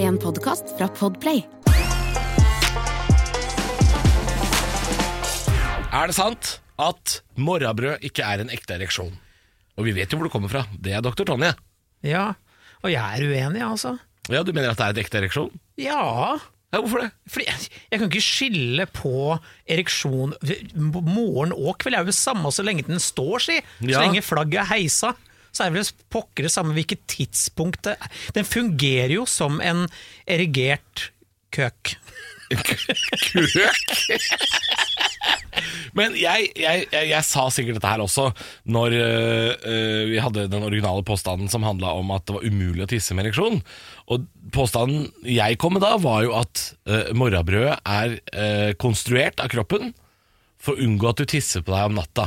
En podkast fra Podplay. Er det sant at morrabrød ikke er en ekte ereksjon? Og vi vet jo hvor det kommer fra. Det er doktor Tonje. Ja, og jeg er uenig, altså. Ja, Du mener at det er en ekte ereksjon? Ja, Ja, Hvorfor det? fordi jeg, jeg kan ikke skille på ereksjon Morgen og kveld er jo det samme så lenge den står, si. Så Ja. lenge flagget er heisa, så er det vel pokker det samme hvilket tidspunkt det er. Den fungerer jo som en erigert køk. Krøk? Men jeg, jeg, jeg, jeg sa sikkert dette her også når øh, øh, vi hadde den originale påstanden som handla om at det var umulig å tisse med ereksjon. Og påstanden jeg kom med da, var jo at øh, morrabrødet er øh, konstruert av kroppen for å unngå at du tisser på deg om natta.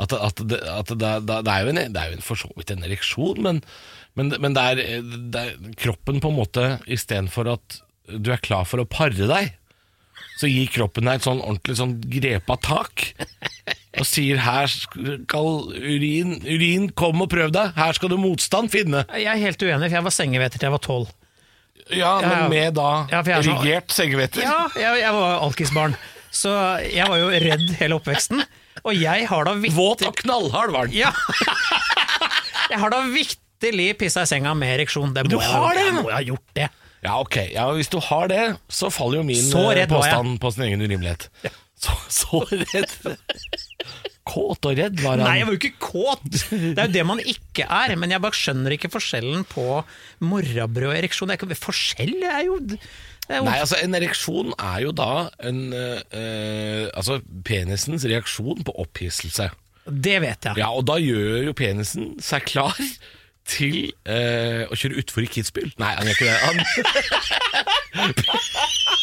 At, at, det, at det, det, det, er jo en, det er jo en for så vidt en ereksjon, men, men, det- men det, er, eh, det er kroppen på en måte Istedenfor at du er klar for å pare deg, så gir kroppen deg et sånn ordentlig sånn grepa tak. Og sier 'her skal urin, urin kom og prøv deg', her skal du motstand finne. Jeg er helt uenig, for jeg var sengeveter til jeg var tolv. Ja, ja. men med da Ja, for jeg er sånn- erigert sengeveter. Ja, jeg, jeg var alkisbarn, så jeg var jo redd hele oppveksten. Og jeg har da vitterlig Våt og knallhard var den. Ja. Jeg har da vitterlig pissa i senga med ereksjon. Det må Du jeg- har det, Jeg ja. må jo ha gjort det. Ja, ok. Ja, hvis du har det, så faller jo min Så eh, redd var jeg. påstand på sin egen urimelighet. Så, så redd. Kåt og redd var han. Nei, jeg var jo ikke kåt! Det er jo det man ikke er. Men jeg bare skjønner ikke forskjellen på morrabrød og ereksjon. Det er ikke, forskjell er jo, det er jo Nei, altså En ereksjon er jo da en, eh, eh, altså penisens reaksjon på opphisselse. Det vet jeg. Ja, Og da gjør jo penisen seg klar til eh, å kjøre utfor i Kitzbühel. Nei, han gjør ikke det. Han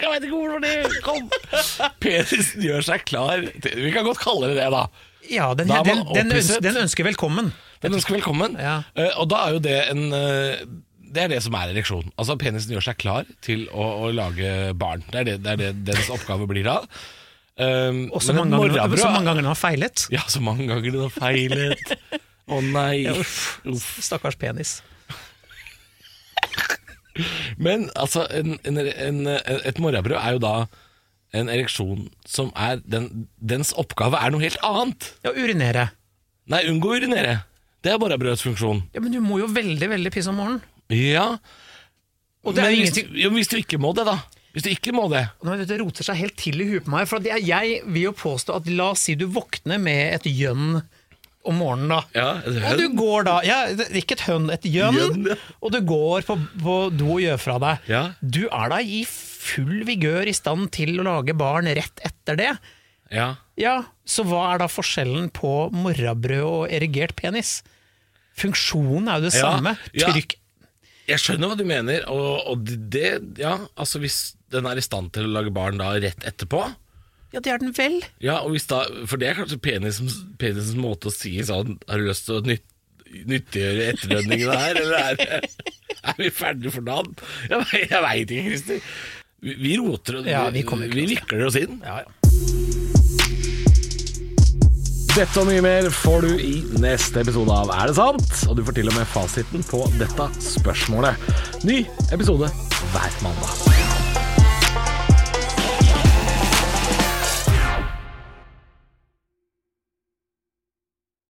Jeg veit ikke hvor det kom. Penisen gjør seg klar til Vi kan godt kalle det det, da. Ja, den, Da er den, man den, opphisset. ønsker, den ønsker velkommen. Den ønsker velkommen. Ja. Eh, og da er jo det en eh, Det er det som er ereksjon. Altså Penisen gjør seg klar til å, å lage barn. Det er det, det er det dens oppgave blir da. Um, Og så men mange et ganger morrabrød- så mange ganger den har feilet. Ja, så mange ganger den har feilet. Å nei. Ja, Uff. Stakkars penis. Men altså, en, en, en, et morrabrød er jo da en ereksjon som er den, Dens oppgave er noe helt annet. Ja, urinere. Nei, unngå å urinere. Det er morrabrødets funksjon. Ja, Men du må jo veldig, veldig pisse om morgenen. Ja. Og det er men jo hvis, ingenting- du, jo, hvis du ikke må det, da. Hvis du ikke må det. Nå, vet du, det roter seg helt til i huet på meg. For at jeg, jeg vil jo påstå at la oss si du våkner med et gjønn om morgenen, da. Ja, et hønn. Og du går da ja, det- Ikke et hønn, et gjønn. Gjønn, ja. Og du går på, på do og gjør fra deg. Ja. Du er da i full vigør i stand til å lage barn rett etter det. Ja. Ja, Så hva er da forskjellen på morrabrød og erigert penis? Funksjonen er jo det Ja, samme. ja. Trykk Jeg skjønner hva du mener, og, og det Ja, altså hvis den er i stand til å lage barn da rett etterpå Ja, det er den vel. Ja, og hvis da For det er kanskje penisens, penisens måte å si sånn Har du lyst til å nytt, nyttiggjøre etterlønningene her, eller er, er vi ferdige for dagen? Jeg, ve- jeg veit ikke, Christer. Vi, vi roter og Ja, vi kommer ikke vi oss, ja. vikler oss inn. Ja, ja. Dette og mye mer får du i neste episode av Er det sant? Og du får til og med fasiten på dette spørsmålet. Ny episode hver mandag.